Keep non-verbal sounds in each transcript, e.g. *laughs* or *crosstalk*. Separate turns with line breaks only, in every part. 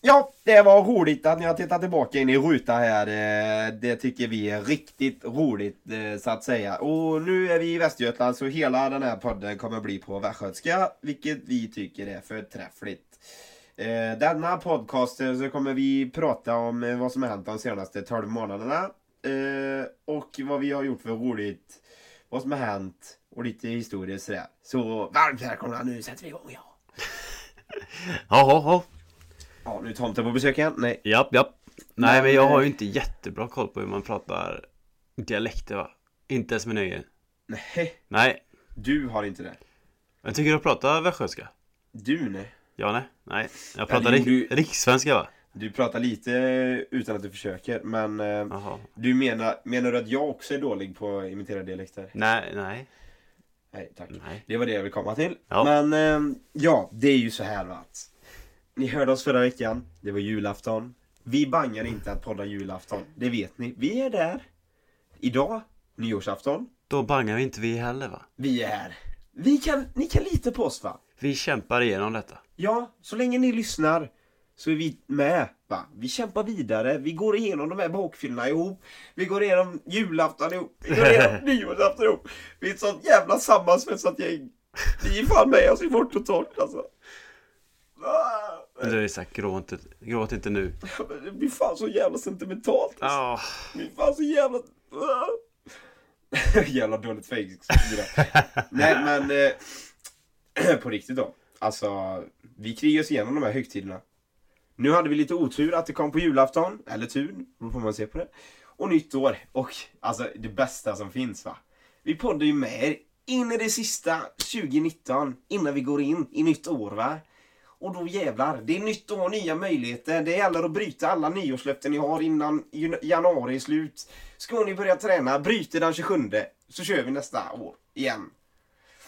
Ja, det var roligt att ni har tittat tillbaka in i ruta här. Eh, Det tycker vi är riktigt roligt eh, så att säga. Och nu är vi i Västergötland så hela den här podden kommer bli på västgötska, vilket vi tycker är förträffligt. Eh, Denna podcast eh, så kommer vi prata om eh, vad som har hänt de senaste 12 månaderna. eh, Och vad vi har gjort för roligt, vad som har hänt och lite historiskt sådär. Så varmt välkomna, nu sätter vi igång ja!
Ja, ja, ja.
Ja, nu är tomten på besök igen. Nej.
Japp, japp. Nej,
Men,
men jag har ju
eh,
inte jättebra koll på hur man pratar dialekter va? Inte ens med nöje.
Nej.
Nej,
Du har inte det.
jag tycker du pratar västgötska.
Du nej.
Ja, nej, nej. Jag
det
pratar
gjorde
rik-
ju-
rikssvenska va?
Du pratar lite utan att du försöker, men eh,
Jaha.
du menar, menar du att jag också är dålig på att imitera dialekter?
Nej, nej,
Nej, tack.
nej.
Det var det jag ville komma till.
Ja.
Men eh, ja, det är ju så här va. att Ni hörde oss förra veckan, det var julafton. Vi bangar inte att podda julafton, det vet ni. Vi är där. Idag, nyårsafton,
Då bangar vi inte vi heller va?
vi är här. Vi kan, ni kan lita på oss va?
Vi kämpar igenom
Eh.
detta.
Ja, så länge ni lyssnar så är vi med. Va? Vi kämpar vidare, vi går igenom de här bakfyllorna ihop. Vi går igenom julafton ihop, vi går igenom nyårsafton ihop. Vi är ett sånt jävla sammansvetsat gäng. Vi är fan med oss i vårt och torrt alltså. Ah,
Du Isak, gråt inte, gråt inte nu.
men Det blir fan så jävla sentimentalt. Alltså.
Ja,
Det blir fan så jävla... Ah. *laughs* jävla dåligt fejk. Nej men, eh, *clears throat* på riktigt då. Alltså, vi krigar oss igenom de här högtiderna. Nu hade vi lite otur att det kom på julafton, eller tur, beror på hur man ser på det. Och nytt år, och alltså det bästa som finns va. Vi poddar ju med er in i det sista 2019, innan vi går in i nytt år va. Och då jävlar, det är nytt år, nya möjligheter. Det gäller att bryta alla nyårslöften ni har innan jun- januari är slut. Ska ni börja träna, bryt er den 27 så kör vi nästa år igen.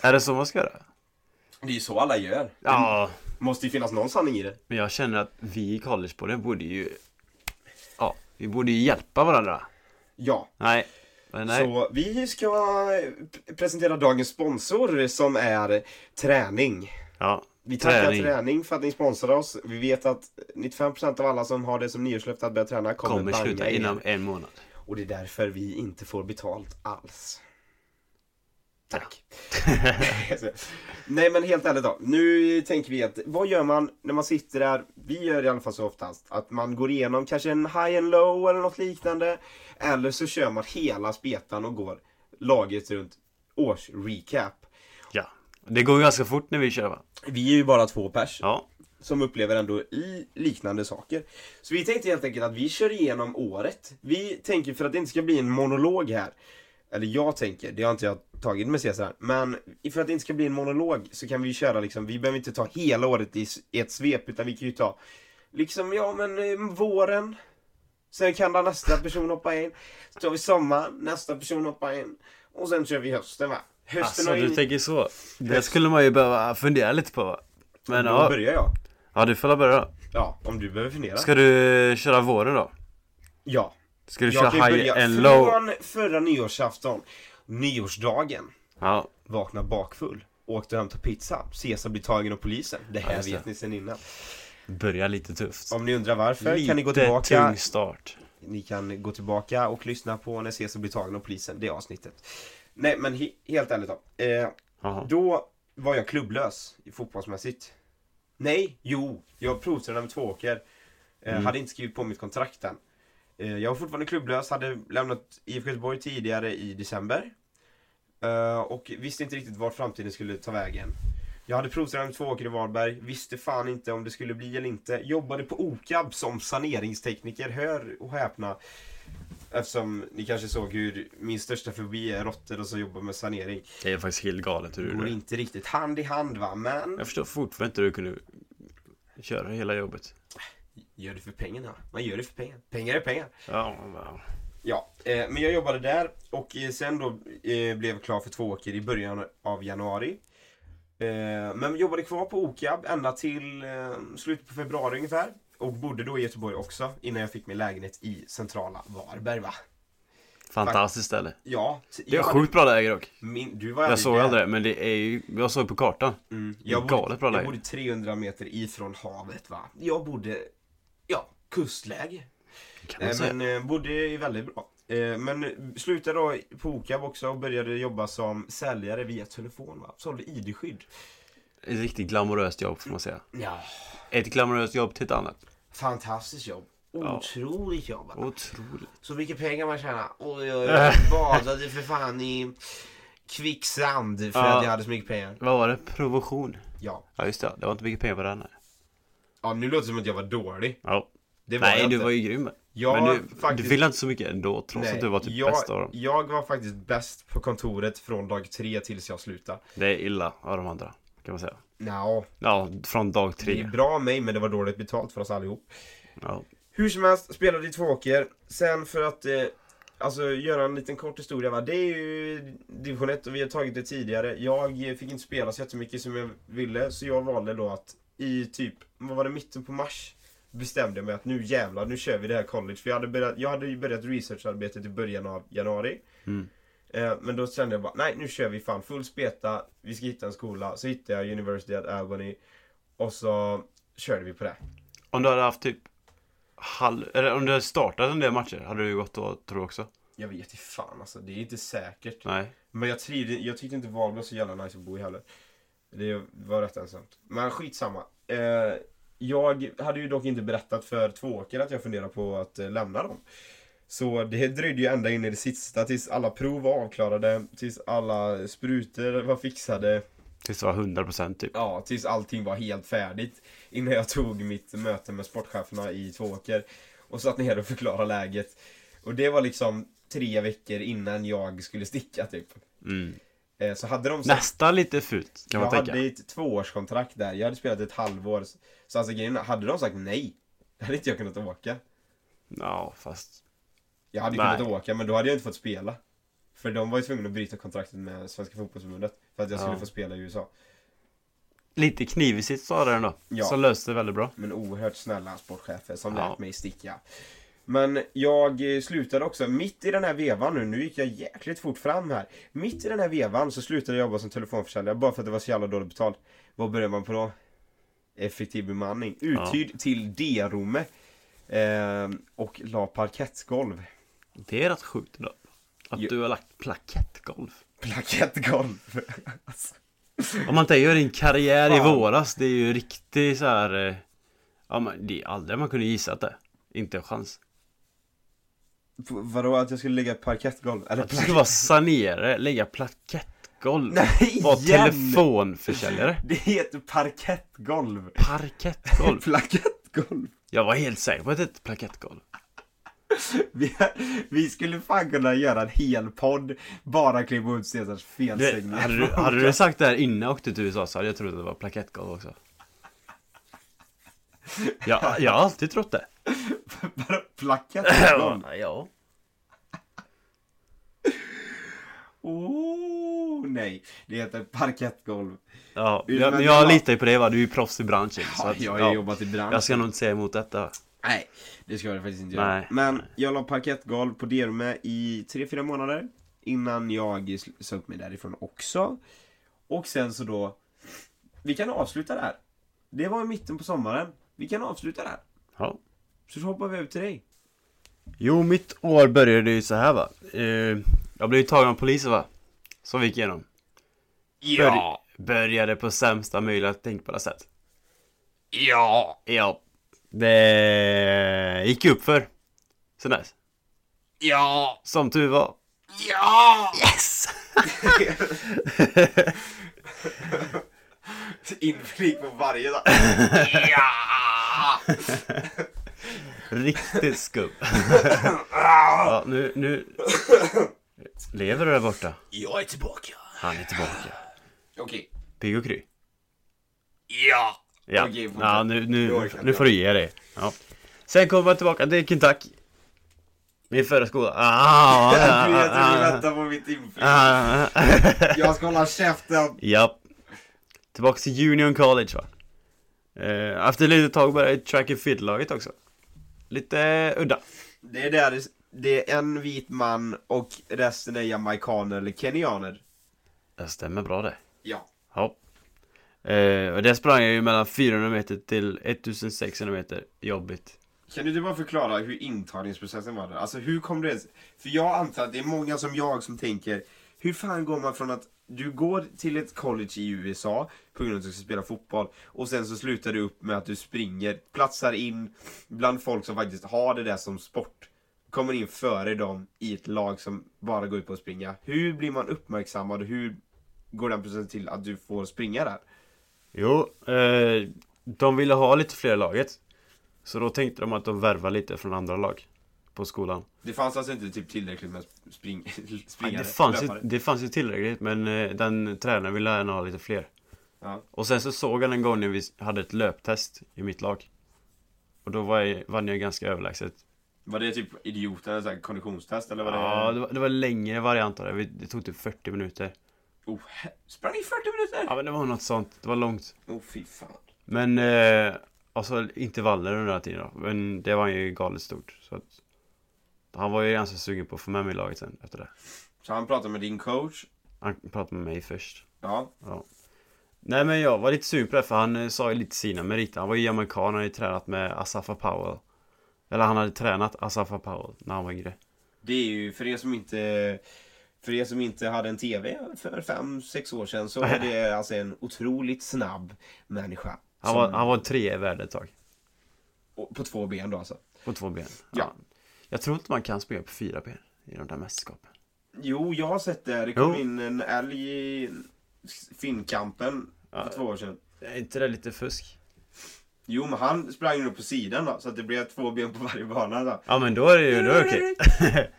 är det så man ska göra?
Det är ju så alla gör.
Ja,
Måste ju finnas någon sanning i det.
men jag känner att vi i collegepodden borde ju... Ja, vi borde ju hjälpa varandra.
Ja,
Nej, men nej.
så vi ska eh, p- presentera dagens sponsor som är träning.
Ja,
Vi tackar träning. för att ni sponsrar oss. Vi vet att 95% av alla som har det som nyårslöfte att börja träna kommer,
kommer
banga
sluta
er.
inom en månad.
Och det är därför vi inte får betalt alls. Tack. *laughs* Nej men helt ärligt då. Nu tänker vi att, vad gör man när man sitter där? Vi gör i alla fall så oftast att man går igenom kanske en high and low eller något liknande. Eller så kör man hela spetan och går laget runt årsrecap.
Ja, det går ju ganska fort när vi kör va?
Vi är ju bara två pers
Ja,
som upplever ändå i liknande saker. Så vi tänkte helt enkelt att vi kör igenom året. Vi tänker, för att det inte ska bli en monolog här, eller jag tänker, det har inte jag tagit med Cesar, men för att det inte ska bli en monolog så kan vi ju köra liksom, vi behöver inte ta hela året i s- i ett svep, utan vi kan ju ta liksom, ja men eh, våren, sen kan där nästa person hoppa in, så tar vi sommaren, nästa person hoppar in, och sen kör vi hösten va? Hösten
alltså
har ju...
du tänker så. Det skulle man ju behöva fundera lite på va? Men
Då
ja,
börjar jag.
ja du får väl börja då.
Ja, om du behöver fundera.
Ska du köra våren då?
Ja.
Ska du köra
Jag kan ju
high
börja
and low?
från förra nyårsafton, nyårsdagen,
Ja,
vakna bakfull, åkte och hämtade pizza, Cesar blir tagen av polisen. Det
Ja,
här
just det.
vet ni sen innan.
börja lite tufft.
Om ni undrar varför
lite
kan ni gå tillbaka,
tung start.
ni kan gå tillbaka och lyssna på när Cesar blir tagen av polisen, det avsnittet. Nej men he- helt ärligt då, eh,
Jaha.
då var jag klubblös i fotbollsmässigt. Nej, jo, jag provtränade med Tvååker. Eh, Hade inte skrivit på mitt kontrakt än. Eh, jag var fortfarande klubblös, hade lämnat IFK Göteborg tidigare i december. Eh, och visste inte riktigt vart framtiden skulle ta vägen. Jag hade provtränat med Tvååker i Varberg, visste fan inte om det skulle bli eller inte. Jobbade på OKAB som saneringstekniker, hör och häpna. Eftersom ni kanske såg hur min största fobi är råttor och så jobbar med sanering
Det är faktiskt helt galet hur du
går
gjorde. det.
inte riktigt hand i hand va, men
Jag förstår fortfarande inte hur du kunde köra hela jobbet.
gör det för pengarna. Man gör det för pengar. Pengar är pengar.
Ja, ja.
Ja, eh, men jag jobbade där och eh, sen då eh, blev jag klar för två åker i början av januari. Eh, men jobbade kvar på OKAB ända till eh, slutet på februari ungefär. Och bodde då i Göteborg också innan jag fick min lägenhet i centrala Varberg va?
Fantastiskt ställe.
Ja, t-
Det är
jag-
sjukt bra läge dock.
Min, du var
Jag såg
där.
aldrig det, men det är ju, jag såg på kartan.
Mm.
Det är
Jag, bodde,
galet bra
jag
läge.
bodde 300 meter ifrån havet va. Jag bodde Ja, kustläge.
Kan man
Nej,
säga.
men eh, bodde ju väldigt bra. Eh, men slutade då på OKAB också och började jobba som säljare via telefon va? Sålde ID-skydd.
Ett riktigt glamoröst jobb får man säga.
Ja,
Ett glamoröst jobb till ett annat.
fantastiskt jobb. Otroligt jobb. va?
Otroligt.
Så mycket pengar man tjänar. Oj, oj,
*laughs*
oj. Badade för fan i kvicksand för
Ja.
att jag hade så mycket pengar.
Vad var det? Provision?
Ja.
Ja just det, det var inte mycket pengar på den här.
ja, nu låter det som att jag var dålig.
Ja.
Det var
Nej,
jag
du
inte.
var ju grym.
Jag
men du,
faktiskt-
du ville inte så mycket ändå, trots
Nej,
att du var typ
jag,
bäst av dem.
Jag var faktiskt bäst på kontoret från dag tre tills jag slutade.
Det är illa av de andra, kan man säga.
Nja,
Ja, från dag
det
tre.
är bra av mig men det var dåligt betalt för oss allihop.
Ja.
Hur som helst, spelade i Tvååker. Sen för att eh, alltså, göra en liten kort historia. Va? Det är ju division 1 och vi har tagit det tidigare. Jag eh, fick inte spela så jättemycket som jag ville. Så jag valde då att i typ, vad var det, mitten på mars? Bestämde jag mig att nu jävlar, nu kör vi det här college. För jag hade, börjat, jag hade ju börjat researcharbetet i början av januari.
Mm.
Eh, men då kände jag bara, nej nu kör vi fan full speta. Vi ska hitta en skola. Så hittade jag University at Albany. Och så körde vi på det.
Om du hade haft typ halv... Eller om du hade startat en del matcher, hade du gått då, tror du också?
Jag vet inte fan alltså, det är inte säkert.
Nej.
Men jag, trivde, jag tyckte inte Valbo var så jävla nice att bo i heller. Det var rätt ensamt. Men skitsamma. Eh, jag hade ju dock inte berättat för Tvååker att jag funderar på att eh, lämna dem. Så det dröjde ju ända in i det sista tills alla prov var avklarade, tills alla sprutor var fixade,
Tills det var 100% typ.
ja, tills allting var helt färdigt. Innan jag tog mitt möte med sportcheferna i Tvååker och satt ner och förklarade läget. Och det var liksom tre veckor innan jag skulle sticka typ.
Mm.
Eh, Så hade de sagt
Nästan lite fult, kan
jag
man tänka.
hade ett tvåårskontrakt där, jag hade spelat ett halvår. Så alltså grejen är, hade de sagt nej, hade inte jag kunnat åka.
Ja, fast...
Jag hade ju
Nej.
kunnat åka, men då hade jag inte fått spela. För de var ju tvungna att bryta kontraktet med Svenska Fotbollförbundet för att jag skulle
Ja.
få spela i USA.
Lite knivig sitt sa det ändå.
Ja.
Som löste det väldigt bra.
Men oerhört snälla sportchefer som
Ja.
lät mig sticka. Men jag eh, slutade också, mitt i den här vevan nu, nu gick jag jäkligt fort fram här. Mitt i den här vevan så slutade jag jobba som telefonförsäljare bara för att det var så jävla dåligt betalt. Vad börjar man på då? Effektiv bemanning. Uthyrd till D-Rome. Ehm, och la parkettgolv. *laughs*
Det är rätt sjukt idag. Att
Jo.
du har lagt plakettgolv.
Plakettgolv. alltså.
Om man tänker din karriär i
Fan.
våras, det är ju riktigt så här. eh, Ja, men det är aldrig man kunde gissa att det. Inte en chans.
P- Vadå att jag skulle lägga parkettgolv? Eller
Att du skulle vara sanerare, lägga plakettgolv.
*laughs* Nej
Vara
igen!
telefonförsäljare.
Det heter parkettgolv.
Parkettgolv.
*laughs* Plakettgolv.
Jag var helt säker på att det hette plakettgolv.
Vi, vi skulle fan kunna göra en hel podd bara kring Bob Cesars
Du,
felsägningar.
hade, du, hade du sagt det här innan jag åkte till USA så hade jag trott att det var plakettgolv också. Jag, jag har alltid trott det.
*laughs* Bara Plakettgolv.
ja.
Oh, nej, det heter parkettgolv.
ja
Men
jag, men
jag-
jag litar ju på det va, du är ju proffs i branschen. så
Ja,
att-
jag har
ja.
jobbat i branschen.
Jag ska nog inte säga emot detta.
Nej, det ska jag faktiskt inte göra.
Nej.
Men jag la parkettgolv på Derume i 3-4 månader innan jag sl- sa upp mig därifrån också. Och sen så då, vi kan avsluta där. Det var i mitten på sommaren. Vi kan avsluta där.
Ja.
Så hoppar vi över till dig.
Jo, mitt år började ju så här va. Eh, jag blev ju tagen av polisen va. Som vi gick igenom. Bör- började på sämsta möjliga tänkbara sätt.
ja,
Ja. Det gick upp för. Sen dess.
ja,
Som tur var.
ja!
Yes!
Inflik på varje dag. ja!
*laughs* Riktigt *laughs* skum. ja, nu, nu... Lever du där borta?
Jag är tillbaka.
Han är tillbaka.
Okej.
Pigg och kry.
Ja!
Ja,
Okej, fortsätt.
ja nu,
Jag
nu,
orkar
nu
inte.
får du ge dig. Ja. Sen kommer jag tillbaka till Kentucky. Min förra skola. Ah, ah,
Du vet hur du
ah,
väntar på mitt inflik.
ah, ah.
Jag ska hålla käften.
Japp. Tillbaka till Union College va. Eh, efter ett litet tag började jag i track and field-laget också. Lite udda.
Det är där, det är en vit man och resten är jamaikaner eller kenyaner.
Det stämmer bra det.
Ja.
Ja. Eh, och där sprang jag ju mellan 400 meter till 1600 meter. Jobbigt.
Kan du inte bara förklara hur intagningsprocessen var där? Alltså hur kom det ens... För jag antar att det är många som jag som tänker, hur fan går man från att du går till ett college i USA på grund av att du ska spela fotboll och sen så slutar du upp med att du springer, platsar in bland folk som faktiskt har det där som sport. Kommer in före dem i ett lag som bara går ut på att springa. Hur blir man uppmärksammad och hur går den processen till att du får springa där?
Jo, eh, de ville ha lite fler i laget. Så då tänkte de att de värvar lite från andra lag på skolan.
Det fanns alltså inte typ tillräckligt med spring... *laughs* springare?
Nej, det, fanns ju,
löpare?
det fanns ju tillräckligt men eh, den tränaren ville gärna ha lite fler.
Ja.
Och sen så såg han en gång när vi hade ett löptest i mitt lag. Och då var jag, vann jag ganska överlägset.
Var det typ idioten, så här konditionstest eller vad
Ja,
det...
det var, det var längre variant av det. Vi- Det tog typ 40 minuter.
Oh, he- sprang i 40 minuter?
Ja men det var något sånt, det var långt.
Oh fy fan.
Men, eh, alltså intervaller under den här tiden då. Men det var ju galet stort. Så att, han var ju ganska sugen på att få med mig i laget sen efter det.
Så han pratade med din coach.
Han pratade med mig först.
Ja.
Nej men jag var lite sugen på det för han eh, sa ju lite sina meriter. Han var ju jamaican, han hade ju tränat med Asafa Powell. Eller han hade tränat Asafa Powell när han var yngre.
Det är ju för er som inte... För er som inte hade en TV för 5-6 år sedan så är
*laughs*
det alltså en otroligt snabb människa.
Han
som-
var, han var tre i världen ett tag.
och- På två ben då alltså.
På två ben.
Ja.
Jag tror inte man kan spela på fyra ben i de där mästerskapen.
Jo, jag har sett det. Det kom
Jo.
in en älg i Finnkampen
Ja.
för två år sedan.
Är inte det lite fusk?
Jo, men han sprang ju då på sidan då, så att det blev två ben på varje bana
*laughs*
då.
Ja men då är det ju, då är det okej. *laughs*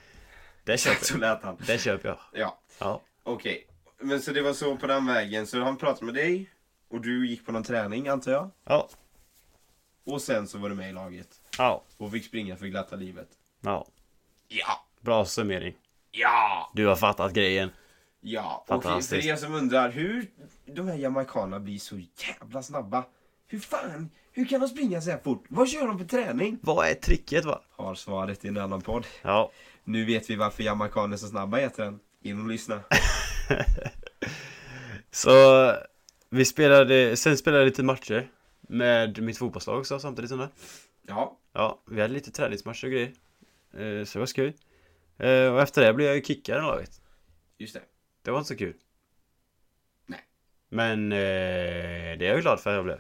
det
Exakt
köper
så
jag.
lät han.
Det köper jag.
Ja,
Ja.
okej. Men så det var så på den vägen. Så han pratade med dig och du gick på någon träning antar jag.
Ja.
Och sen så var du med i laget
Ja.
och fick springa för glatta livet.
Ja.
Ja,
Bra summering.
ja,
Du har fattat grejen.
ja. Och för-
Fantastiskt.
för er som undrar hur de här jamaicanerna blir så jävla snabba. Hur fan, hur kan de springa så här fort? Vad kör de för träning?
Vad är tricket va?
Har svaret i en annan podd.
Ja.
Nu vet vi varför jamaicaner är så snabba heter den. In och lyssna.
Så vi spelade, sen spelade jag lite matcher med mitt fotbollslag också samtidigt som det.
Ja,
Ja, vi hade lite träningsmatcher och grejer. Eh, Så det var skoj. Eh, Och efter det blev jag ju kickad i laget.
just det.
Det var inte så kul.
Nej.
Men eh, det är jag glad för att jag blev.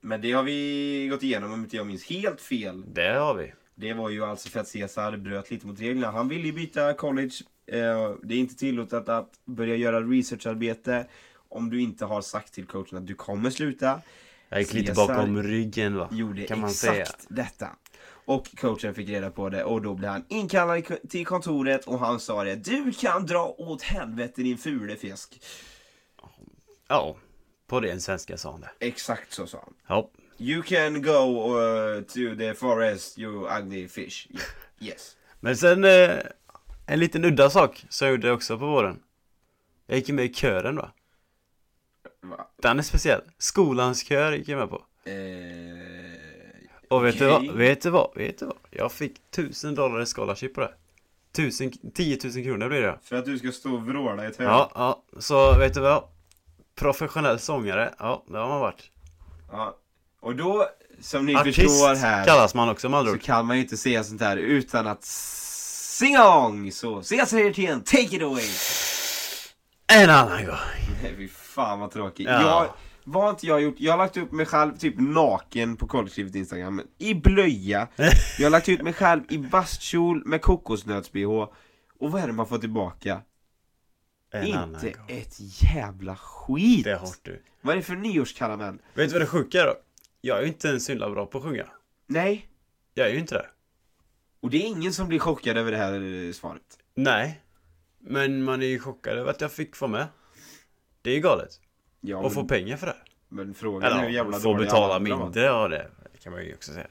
Men det har vi gått igenom om inte jag minns helt fel.
Det har vi.
Det var ju alltså för att Cesar bröt lite mot reglerna. Han ville ju byta college. Eh, Det är inte tillåtet att börja göra researcharbete om du inte har sagt till coachen att du kommer sluta.
Jag gick lite
Cesar
bakom ryggen va?
Gjorde
kan man
exakt
säga.
detta. Och coachen fick reda på det och då blev han inkallad i ko- till kontoret och han sa det. Du kan dra åt helvete din fule fisk.
Ja. På den svenska sa han det.
Exakt så sa han.
Ja.
You can go uh, to the forest you ugly fish. Yeah. *laughs* Yes.
Men sen eh, en liten udda sak som jag gjorde också på våren. Jag gick ju med i kören va?
Va?
Den är speciell. Skolans kör gick jag med på.
Eh,
Och vet, du
Okej.
vad, vet du vad? Vet du vad? Jag fick 1000 dollar i scholarship på det. 1000, 10 000 kronor blir det.
För att du ska stå och vråla i ett hörn?
Ja, ja. Så vet du vad? Professionell sångare. Ja, det har man varit.
Ja. Och då, som ni
Artist
förstår här,
kallas man också med andra
så
ord.
kan man ju inte säga sånt här utan att singa Så ses vi igen, take it away!
En annan gång.
Nej fy fan vad tråkigt.
Ja.
Jag, vad har inte jag gjort? Jag har lagt upp mig själv typ naken på kollektivet Instagram, i blöja. Jag har lagt ut mig själv i bastkjol med kokosnöts-bh. Och vad är det man får tillbaka?
*laughs* En annan
inte
gång.
ett jävla skit!
Det har du.
Vad är det för nyårskaramell?
Vet du vad det sjuka är då? Jag är ju inte ens så himla bra på att sjunga.
Nej,
Jag är ju inte det.
Och det är ingen som blir chockad över det här eh, svaret.
Nej. Men man är ju chockad över att jag fick vara med. Det är ju galet.
Ja,
Och få
men,
pengar för det.
men frågan är hur
Eller
jävla
får
dåliga
betala
alla andra var.
mindre av det. kan man ju också säga.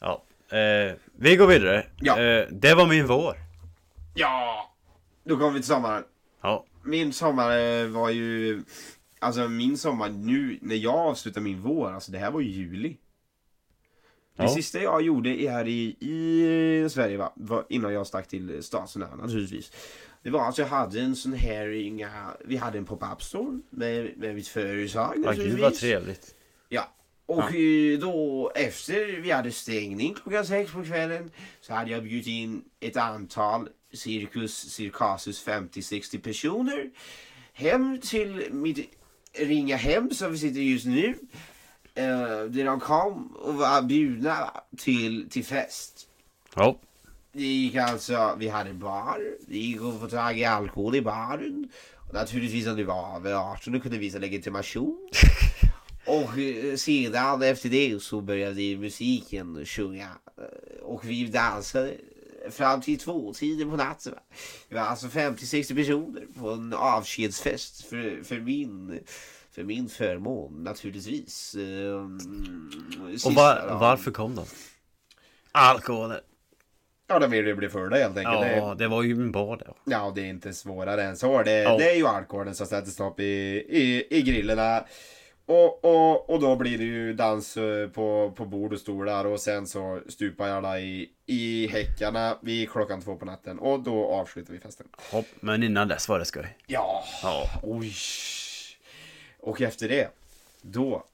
Ja. Eh, vi går vidare.
Ja.
Eh, det var min vår.
Ja! Då kommer vi till sommaren.
Ja.
Min sommar eh, var ju... Alltså min sommar nu, när jag avslutar min vår, alltså det här var ju juli. Det
Ja.
sista jag gjorde i- här i, i Sverige va, var innan jag stack till Stadsnära naturligtvis. Det var att jag hade en sån här, inga, vi hade en pop-up store med, med mitt företag
Ja, gud
naturligtvis.
vad trevligt.
Ja. Och eh, då efter vi hade stängning klockan sex på kvällen så hade jag bjudit in ett antal cirkus, cirkasus 50-60 personer hem till mitt ringa hem som vi sitter i just nu. Eh, Där de kom och var bjudna till, till fest.
Ja.
Det gick alltså, vi hade bar, det gick att få tag i alkohol i baren. Och naturligtvis om du var över 18 och kunde visa
*laughs*
legitimation. Och eh, sedan efter det så började ju musiken sjunga. eh, Och vi dansade fram till tvåtiden på natten. va. Det var alltså 50-60 personer på en avskedsfest för, för min för min förmån naturligtvis. Ehm, sista
Och va-
dagen.
varför kom de? Alkoholen.
Ja, de ville bli fulla helt enkelt. Det-
Ja, det var ju en bar där.
Ja, det är inte svårare än så. Det,
Ja.
det är ju alkoholen som sätter stopp i, i, i grillorna. Och, och, och då blir det ju dans eh, på, på bord och stolar och sen så stupar jag alla i, i häckarna vid klockan två på natten och då avslutar vi festen.
Hopp. Men innan dess var det skoj.
Ja,
Ja.
oj. Och efter det, då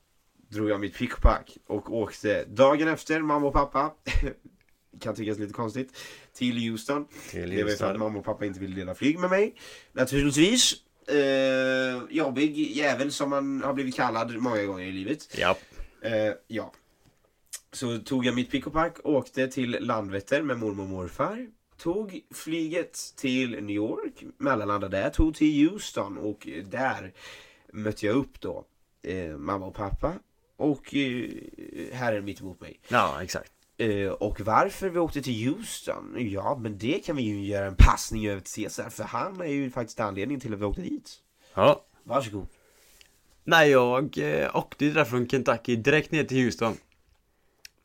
drog jag mitt pickpack och åkte dagen efter, mamma och pappa, *laughs* kan tyckas lite konstigt, till Houston.
Till
Det var ju för
Houston.
att mamma och pappa inte ville dela flyg med mig. Naturligtvis. Eh, jobbig jävel som man har blivit kallad många gånger i livet.
Ja.
Eh, ja. Så tog jag mitt pick och pack, åkte till Landvetter med mormor och morfar. Tog flyget till New York, mellanlandade där, tog till Houston och där mötte jag upp då eh, mamma och pappa och eh, herren mitt emot mig.
Ja, exakt.
Eh, och varför vi åkte till Houston? Ja, men det kan vi ju göra en passning över till Cesar, för han är ju faktiskt anledningen till att vi åkte dit.
Ja.
Varsågod.
Nej, jag eh, åkte ju där från Kentucky direkt ner till Houston.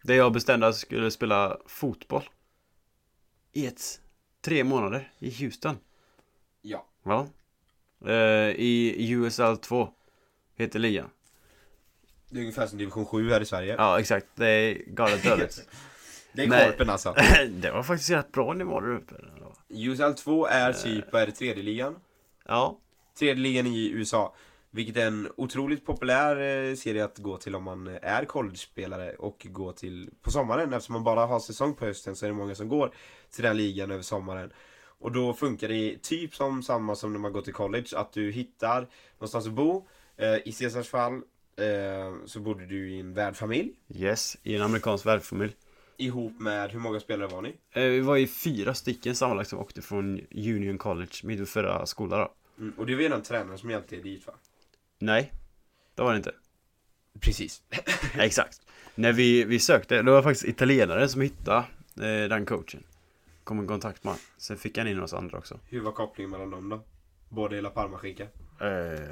Där jag bestämde att jag skulle spela fotboll. I ett, tre månader i Houston.
Ja.
Ja. Eh, I USL 2. Heter ligan.
Det är ungefär som division 7 här i Sverige.
Ja, exakt. Det är galet
*laughs*
dåligt. *laughs*
Det är
Nej.
korpen alltså.
det var faktiskt rätt bra nivå där uppe.
USL 2 är typ, vad är det, tredje ligan?
Ja.
Tredje ligan i USA. Vilket är en otroligt populär eh, serie att gå till om man eh, är college-spelare och gå till på sommaren. Eftersom man bara har säsong på hösten så är det många som går till den ligan över sommaren. Och då funkar det typ som samma som när man går till college, att du hittar någonstans att bo. Eh, I Cesars fall eh, så bodde du i en värdfamilj
Yes, i en amerikansk värdfamilj.
ihop med, hur många spelare var ni?
Eh, Vi var ju fyra stycken sammanlagt som åkte från Union College, min förra skola då.
Mm, och det var ju den tränaren som hjälpte er dit va?
Nej, det var det inte.
Precis.
Exakt. När vi, vi sökte, det var faktiskt italienare som hittade eh, den coachen. Kom i kontakt med honom. Sen fick han in oss andra också.
Hur var kopplingen mellan dem då? Båda i La Palma skicka.
Eh,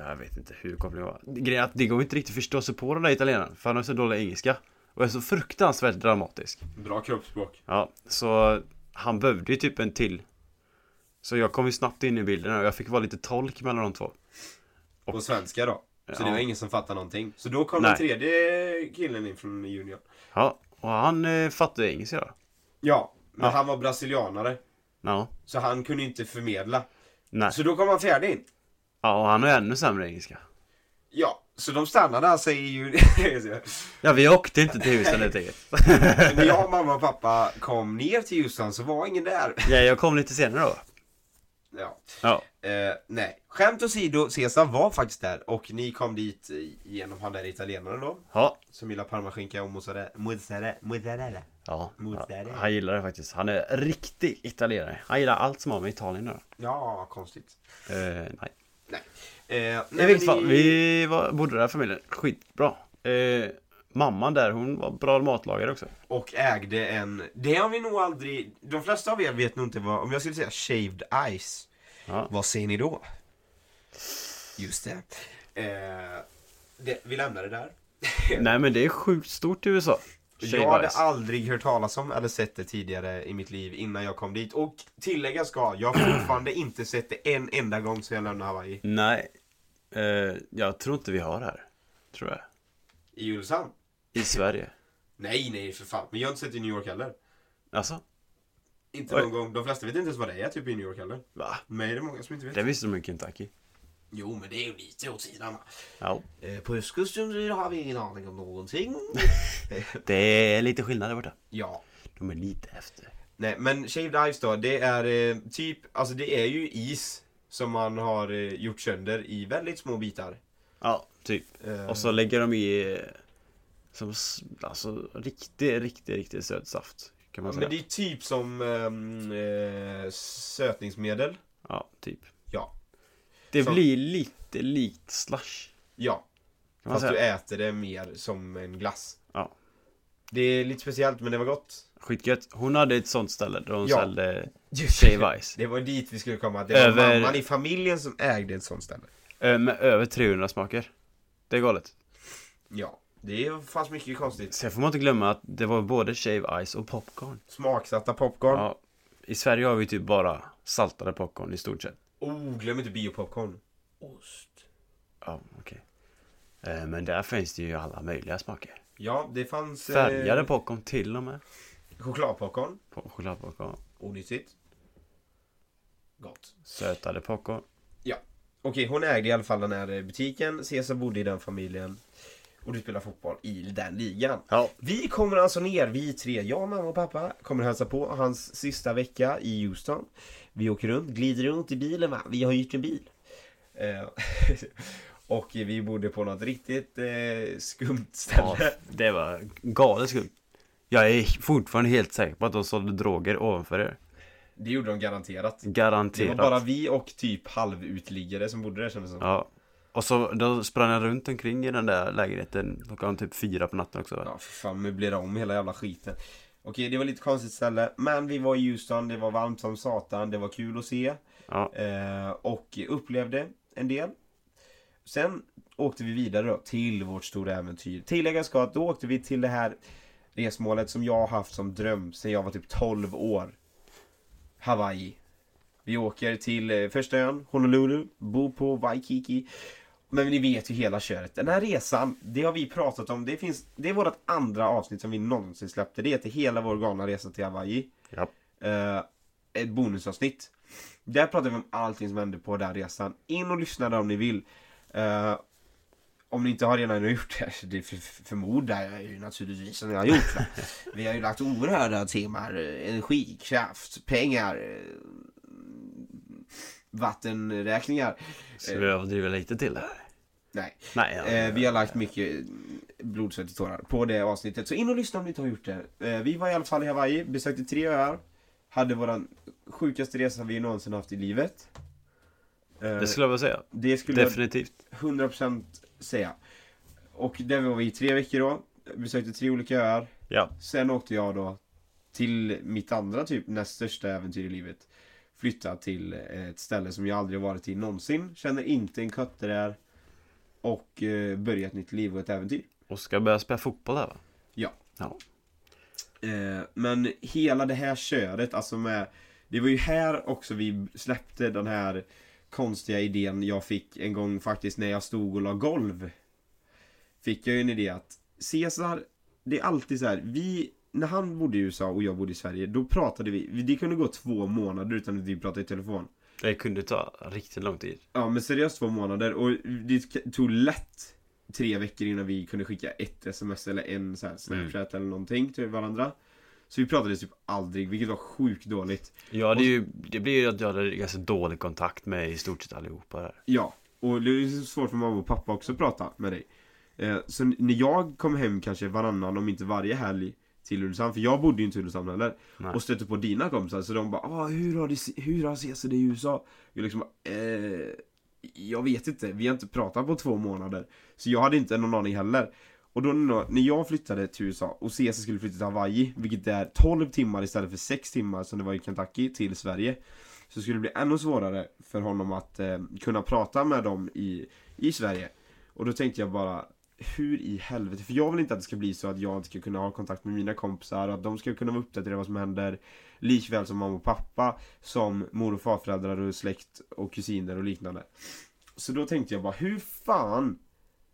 jag vet inte hur kopplingen var. Grejen är att det går inte riktigt att förstå sig på den där italienaren, för han har så dålig engelska. Och är så fruktansvärt dramatisk.
Bra kroppsspråk.
Ja, så han behövde ju typ en till. Så jag kom ju snabbt in i bilden och jag fick vara lite tolk mellan de två.
Och svenska då. Så
Ja.
det var ingen som fattade någonting. Så då kom den
Nej.
tredje killen in från Union.
Ja, och han eh, fattade engelska då.
Ja, men
Ja.
han var brasilianare.
Ja,
Så han kunde inte förmedla.
nej.
Så då kom han fjärde in.
Ja, och han har ju ännu sämre engelska.
Ja, så de stannade alltså i Union.
Ja, vi åkte inte till Houston helt enkelt.
*laughs*
*laughs*
När jag, mamma och pappa kom ner till Houston så var ingen där.
Ja, jag kom lite senare då.
Ja.
Ja,
Eh, nej, skämt åsido, Cesar var faktiskt där och ni kom dit eh, genom han där italienaren då.
ja.
Som gillar parmaskinka och mozzarella. Mozzarella. mozzarella.
Ja,
Mot där, ja.
han gillar det faktiskt. Han är riktig italienare. Han gillar allt som har med Italien att göra.
Ja, konstigt.
Eh, nej.
Nej. Eh,
I
nej,
vilket
men
fall,
i-
vi var, bodde där familjen. Skitbra. Eh, mamman där, hon var bra matlagare också.
Och ägde en... Det har vi nog aldrig... De flesta av er vet nog inte vad... Om jag skulle säga shaved ice,
Ja.
vad säger ni då? Just det. Eh, det vi lämnar det där.
Nej men det är sjukt stort i USA.
jag hade
Tjejbajs.
aldrig hört talas om eller sett det tidigare i mitt liv innan jag kom dit. Och tillägga ska, jag har *clears throat* fortfarande inte sett det en enda gång sedan jag lämnade Hawaii.
Nej. Eh, jag tror inte vi har det här. Tror jag.
I Ulsan?
I Sverige.
Nej, nej för fan. Men jag har inte sett det i New York heller.
Alltså?
Inte
Oj.
någon gång. De flesta vet inte ens vad det är typ i New York heller.
Va?
Nej, det är många som inte vet.
Det visste de i Kentucky.
Jo, men det är ju lite åt sidan.
Ja.
Eh, på östkusten har vi ingen aning om *laughs* någonting.
Det är lite skillnad där borta.
ja.
De är lite efter.
Nej, men shaved ice då, det är eh, typ, alltså det är ju is som man har eh, gjort sönder i väldigt små bitar.
Ja, typ.
Eh,
Och så lägger de i eh, som, s- alltså riktig, riktig, riktigt söt saft. Kan man
ja,
säga.
men det är typ som ehm, eh, sötningsmedel.
Ja, typ.
Ja.
Det
Som-
blir lite likt slush.
Ja,
Kan man
fast du
säga.
äter det mer som en glass.
Ja.
Det är lite speciellt, men det var gott.
Skitgött. Hon hade ett sånt ställe där hon
Ja.
sålde shave ice.
Det var dit vi skulle komma. Det var
Över-
mamman i familjen som ägde ett sånt ställe.
Ö, Med över 300 smaker. Det är galet.
Ja, det fanns mycket konstigt.
Sen får man inte glömma att det var både shave ice och popcorn.
Smaksatta popcorn.
Ja, I Sverige har vi typ bara saltade popcorn i stort sett.
Oh, glöm inte biopopcorn. Ost.
Ja, okej. Eh, Men där finns det ju alla möjliga smaker.
Ja, det fanns... eh,
Färgade popcorn till och med.
Chokladpopcorn.
På Chokladpopcorn.
Onyttigt. Gott.
Sötade *laughs* popcorn.
Ja. Okej, hon ägde i alla fall den här eh, butiken. Cesar bodde i den familjen. Och du spelar fotboll i den ligan.
Ja.
Vi kommer alltså ner, vi tre, jag, mamma och pappa, kommer hälsa på hans sista vecka i Houston. Vi åker runt, glider runt i bilen va, vi har hyrt en bil. Eh, *laughs* och vi bodde på något riktigt eh, skumt
ja.
ställe.
Det var galet skumt. Jag är fortfarande helt säker på att de sålde droger ovanför er.
Det gjorde de garanterat. Det var
Garanterat.
bara vi och typ halvutliggare som bodde där kändes det som.
Ja. Och så då sprang jag runt omkring i den där lägenheten klockan typ fyra på natten också. Va?
Ja, för fan, möblera om hela jävla skiten. Okej, det var lite konstigt ställe, men vi var i Houston, det var varmt som satan, det var kul att se.
Ja.
Eh, och upplevde en del. Sen åkte vi vidare då till vårt stora äventyr. Tilläggas ska att då åkte vi till det här resmålet som jag har haft som dröm sedan jag var typ 12 år. Hawaii. Vi åker till eh, första ön, Honolulu, bor på Waikiki. Men ni vet ju hela köret. Den här resan, det har vi pratat om. Det, finns, det är vårt andra avsnitt som vi någonsin släppte. Det heter Hela vår galna resa till Hawaii.
Ja.
Eh, ett bonusavsnitt. Där pratar vi om allting som hände på den resan. In och lyssna där om ni vill. Eh, om ni inte har redan *laughs* gjort det, det för- förmodar jag ju naturligtvis som jag har gjort. Va? Vi har ju lagt oerhörda teman. eh, Energi, kraft, pengar, eh, vattenräkningar.
Ska vi överdriva lite till här?
Nej.
Nej, ja,
Eh, vi har lagt mycket eh, blod, svett och tårar på det avsnittet. Så in och lyssna om ni inte har gjort det. Eh, vi var i alla fall i Hawaii, besökte tre öar. Hade våran sjukaste resa vi någonsin haft i livet. Eh,
det skulle jag vilja säga.
det skulle jag
Definitivt.
100% säga. Och där var vi i tre veckor då. Besökte tre olika öar.
Ja.
Sen åkte jag då till mitt andra typ näst största äventyr i livet. Flytta till eh, ett ställe som jag aldrig har varit i någonsin. Känner inte en kötte där. Och eh, börja ett nytt liv och ett äventyr.
Och ska börja spela fotboll här va?
Ja.
Ja.
Eh, men hela det här köret, alltså med... Det var ju här också vi släppte den här konstiga idén jag fick en gång faktiskt när jag stod och la golv. Fick jag ju en idé att Cesar, det är alltid så här, vi... När han bodde i USA och jag bodde i Sverige, då pratade vi, det kunde gå två månader utan att vi pratade i telefon.
Det kunde ta riktigt lång tid.
Ja men seriöst två månader och det tog lätt tre veckor innan vi kunde skicka ett sms eller en så här snapchat eller någonting till varandra. Så vi pratade typ aldrig, vilket var sjukt dåligt.
Ja, det, är ju, det blir ju att jag hade ganska dålig kontakt med i stort sett allihopa där.
Ja, och det är så svårt för mamma och pappa också att prata med dig. Eh, Så när jag kom hem kanske varannan, om inte varje helg till Ulricehamn, för jag bodde ju inte i Ulricehamn heller.
Nej.
Och stötte på dina kompisar, så de bara ah, hur, har det, hur har Cesar det i USA? Jag liksom eh, Jag vet inte, vi har inte pratat på två månader. Så jag hade inte någon aning heller. Och då när när jag flyttade till USA och Cesar skulle flytta till Hawaii, vilket är 12 timmar istället för 6 timmar som det var i Kentucky, till Sverige. Så skulle det bli ännu svårare för honom att eh, kunna prata med dem i, i Sverige. Och då tänkte jag bara, hur i helvete? För jag vill inte att det ska bli så att jag inte ska kunna ha kontakt med mina kompisar och att de ska kunna vara uppdaterade vad som händer. Likväl som mamma och pappa, som mor och farföräldrar och släkt och kusiner och liknande. Så då tänkte jag bara, hur fan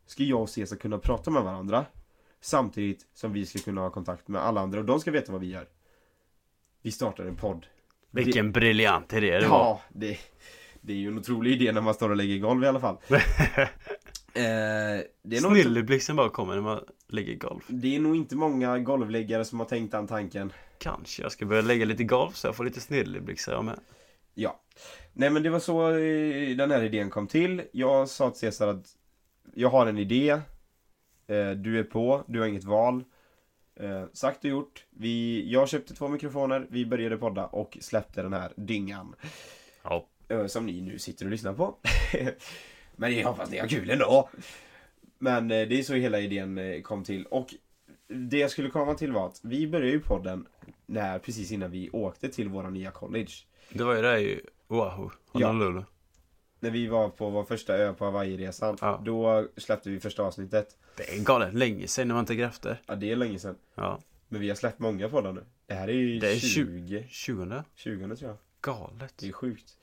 ska jag och Cesar kunna prata med varandra? Samtidigt som vi ska kunna ha kontakt med alla andra och de ska veta vad vi gör. Vi startar en podd.
Vilken briljant idé det var.
Ja, det, Det är ju en otrolig idé när man står och lägger golv i alla fall.
*laughs*
Eh, det, är nog inte,
Snilleblixten bara kommer när man lägger golv.
det är nog inte många golvläggare som har tänkt den tanken.
Kanske jag ska börja lägga lite golv så jag får lite snilleblixtar jag med.
Ja. Nej men det var så eh, den här idén kom till. Jag sa till Cesar att jag har en idé. Eh, Du är på, du har inget val. Eh, Sagt och gjort. Vi, jag köpte två mikrofoner, vi började podda och släppte den här dyngan.
Ja.
Eh, Som ni nu sitter och lyssnar på. *laughs* men jag hoppas ni har kul ändå. Men eh, det är så hela idén eh, kom till. Och det jag skulle komma till var att vi började ju podden när, precis innan vi åkte till våra nya college.
Det var ju där i Oahu, Honolulu.
När vi var på vår första ö på Hawaii-resan,
Ja.
då släppte vi första avsnittet.
Det är galet länge sedan när man inte grafter.
Ja, det är länge sedan.
Ja.
Men vi har släppt många poddar nu. Det här är ju
Det är
20.
20?
20 tror jag.
Galet.
Det är sjukt.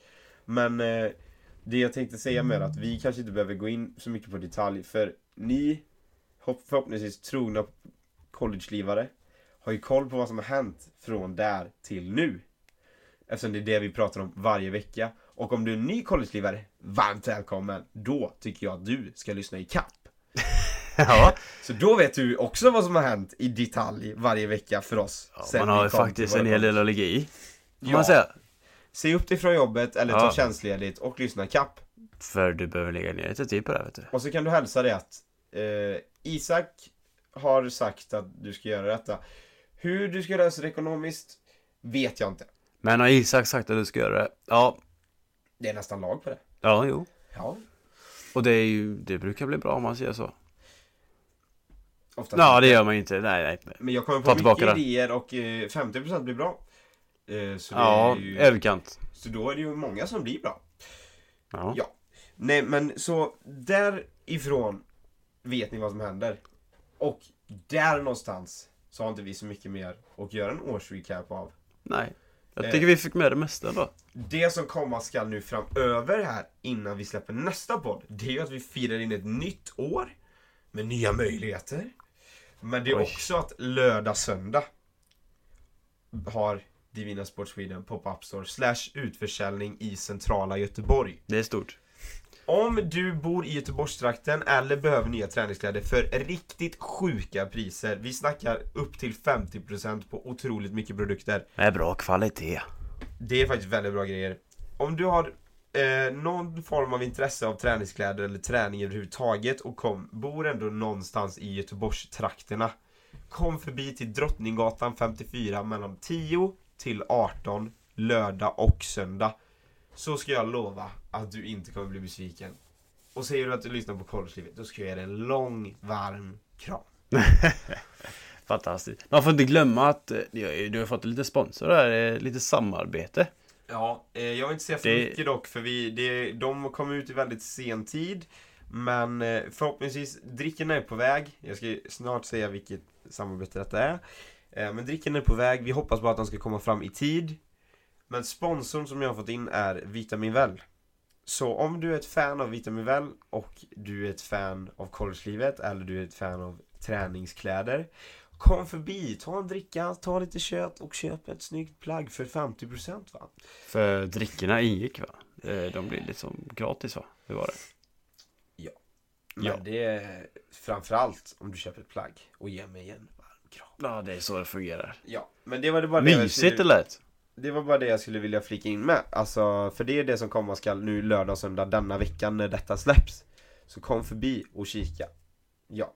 Men eh, det jag tänkte säga med att vi kanske inte behöver gå in så mycket på detalj, för ni hopp- förhoppningsvis trogna college-livare har ju koll på vad som har hänt från där till nu. Eftersom det är det vi pratar om varje vecka. Och om du är ny college-livare, varmt välkommen! Då tycker jag att du ska lyssna i kapp.
*laughs* Ja.
Så då vet du också vad som har hänt i detalj varje vecka för oss. sen
man
vi
har ju
kom till
faktiskt
våra
en hel
college.
del att ligga i. Får
Ja.
man säga.
Se upp dig från jobbet eller ta
Ja.
tjänstledigt och lyssna i kapp.
För du behöver lägga ner lite tid på det här, vet du.
Och så kan du hälsa det att eh, Isak har sagt att du ska göra detta. Hur du ska lösa det ekonomiskt vet jag inte.
Men har Isak sagt att du ska göra det? Ja.
Det är nästan lag på det.
Ja, jo.
Ja,
Och det är ju, det brukar bli bra om man säger så.
oftast.
Ja, det gör man ju inte. Nej, nej. nej.
Men jag kommer på
Ta
mycket
tillbaka det.
idéer och eh, 50% blir bra. Eh, så, det
Ja,
är ju,
överkant.
så då är det ju många som blir bra.
Ja.
Ja. Nej men så därifrån vet ni vad som händer. Och där någonstans så har inte vi så mycket mer att göra en årsrecap av.
Nej.
Eh.
Jag tycker vi fick med det mesta då.
Det som komma skall nu framöver här innan vi släpper nästa podd, det är ju att vi firar in ett nytt år med nya möjligheter. Men det är
Oj.
också att lördag, söndag har Divina Sport Sweden pop-up store slash utförsäljning i centrala Göteborg.
Det är stort.
Om du bor i Göteborgstrakten eller behöver nya träningskläder för riktigt sjuka priser, vi snackar upp till 50% på otroligt mycket produkter.
Med bra kvalitet.
Det är faktiskt väldigt bra grejer. Om du har eh, någon form av intresse av träningskläder eller träning överhuvudtaget och kom, bor ändå någonstans i Göteborgstrakterna. Kom förbi till Drottninggatan 54 mellan 10 till 18 lördag och söndag. Så ska jag lova att du inte kommer bli besviken. Och säger du att du lyssnar på Collegelivet, då ska jag ge dig en lång, varm kram.
Fantastiskt. Man får inte glömma att eh, du har ju- du har fått lite sponsor där, eh, lite samarbete.
Ja, eh, jag vill inte säga för
Det-
mycket dock för vi, det, de kom ut i väldigt sen tid. Men eh, förhoppningsvis, drickorna är på väg. Jag ska snart säga vilket samarbete detta är. Eh, men drickorna är på väg, vi hoppas bara att de ska komma fram i tid. Men sponsorn som jag har fått in är Vitamin Well. Så om du är ett fan av Vitamin Well och du är ett fan av collegelivet eller du är ett fan av träningskläder Kom förbi, ta en dricka, ta lite kött och köp ett snyggt plagg för 50% va?
För drickorna ingick va? Eh, De blir liksom gratis va? Hur var det?
Men
Ja.
det är framförallt om du köper ett plagg och ger mig en varm kram.
Ja, det är så det fungerar.
Ja, men det var det bara det, jag
Mysigt det
skulle,
lät.
det var bara det jag skulle vilja flika in med. Alltså, för det är det som komma skall nu lördag och söndag denna veckan när detta släpps. Så kom förbi och kika. Ja.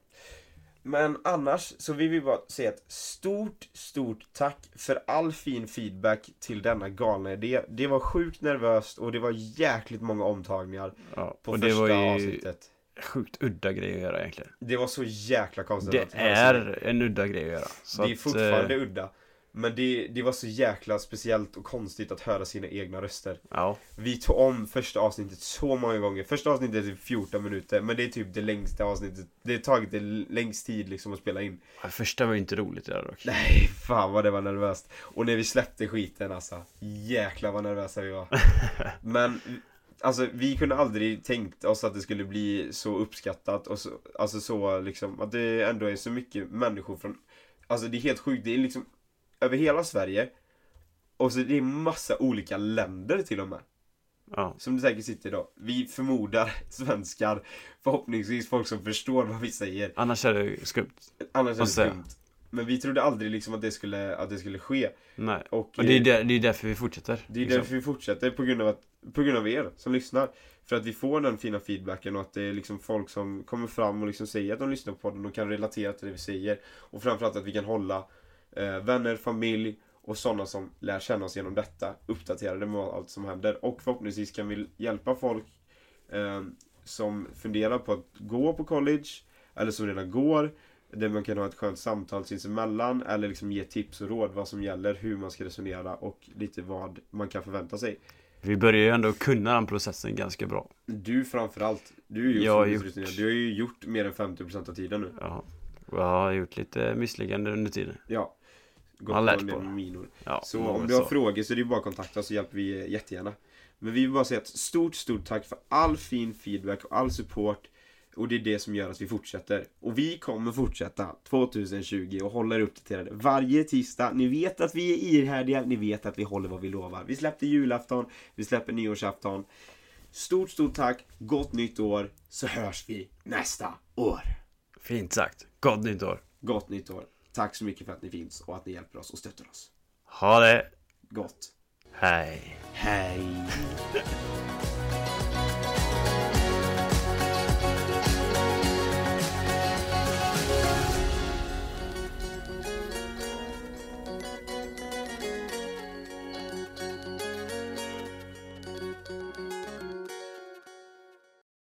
Men annars så vill vi bara säga ett stort, stort tack för all fin feedback till denna galna idé. Det var sjukt nervöst och det var jäkligt många omtagningar
Ja,
på
och det
första
var ju
avsnittet.
sjukt udda grej att göra egentligen.
Det var så jäkla konstigt. Alltså,
Det
att-
är en udda grej att göra. Så
det är
att,
fortfarande
eh,
udda. Men det, det var så jäkla speciellt och konstigt att höra sina egna röster.
Ja,
Vi tog om första avsnittet så många gånger. Första avsnittet är typ 14 minuter, men det är typ det längsta avsnittet. Det har tagit det längst tid liksom att spela in.
första var ju inte roligt det där dock.
Nej, fan vad det var nervöst. Och när vi släppte skiten alltså. Jäklar vad nervösa vi var. Men, alltså vi kunde aldrig tänkt oss att det skulle bli så uppskattat och så, alltså så liksom, att det ändå är så mycket människor från, alltså det är helt sjukt, det är liksom över hela Sverige. Och så det är massa olika länder till och med.
Ja.
Som du säkert sitter idag. Vi förmodar *laughs* svenskar, förhoppningsvis folk som förstår vad vi säger.
Annars är det skumt.
Annars
Vad
är det
säger
skumt. Men vi trodde aldrig liksom att det skulle, att det skulle ske.
Nej.
Och,
Och det liksom. är
eh,
ju där, det är därför vi fortsätter.
det är därför vi fortsätter, på grund, av att, på grund av er som lyssnar. För att vi får den fina feedbacken och att det är liksom folk som kommer fram och liksom säger att de lyssnar på podden och kan relatera till det vi säger. Och framförallt att vi kan hålla eh, vänner, familj och sådana som lär känna oss genom detta uppdaterade med allt som händer. Och förhoppningsvis kan vi hjälpa folk eh, som funderar på att gå på college eller som redan går. Där man kan ha ett skönt samtal sinsemellan eller liksom ge tips och råd vad som gäller, hur man ska resonera och lite vad man kan förvänta sig.
Vi börjar ju ändå kunna den processen ganska bra.
Du framförallt, du är ju
Jag har
otroligt
gjort-
rutinerad. Du har ju gjort mer än 50% av tiden nu.
Ja. Och jag har gjort lite misslyckanden under tiden.
Ja. Gått
har lärt
på en del
på det.
minor.
Ja,
Så
något
om du har
så.
frågor så är det ju bara att kontakta oss så hjälper vi jättegärna. Men vi vill bara säga ett stort, stort tack för all fin feedback och all support. Och det är det som gör att vi fortsätter. Och vi kommer fortsätta 2020 och hålla er uppdaterade varje tisdag. Ni vet att vi är ihärdiga, ni vet att vi håller vad vi lovar. Vi släppte julafton, vi släpper nyårsafton. Stort, stort tack, gott nytt år, så hörs vi nästa år.
Fint sagt. Gott nytt år.
Gott nytt år. Tack så mycket för att ni finns och att ni hjälper oss och stöttar oss.
Ha det.
Gott.
Hej.
Hej!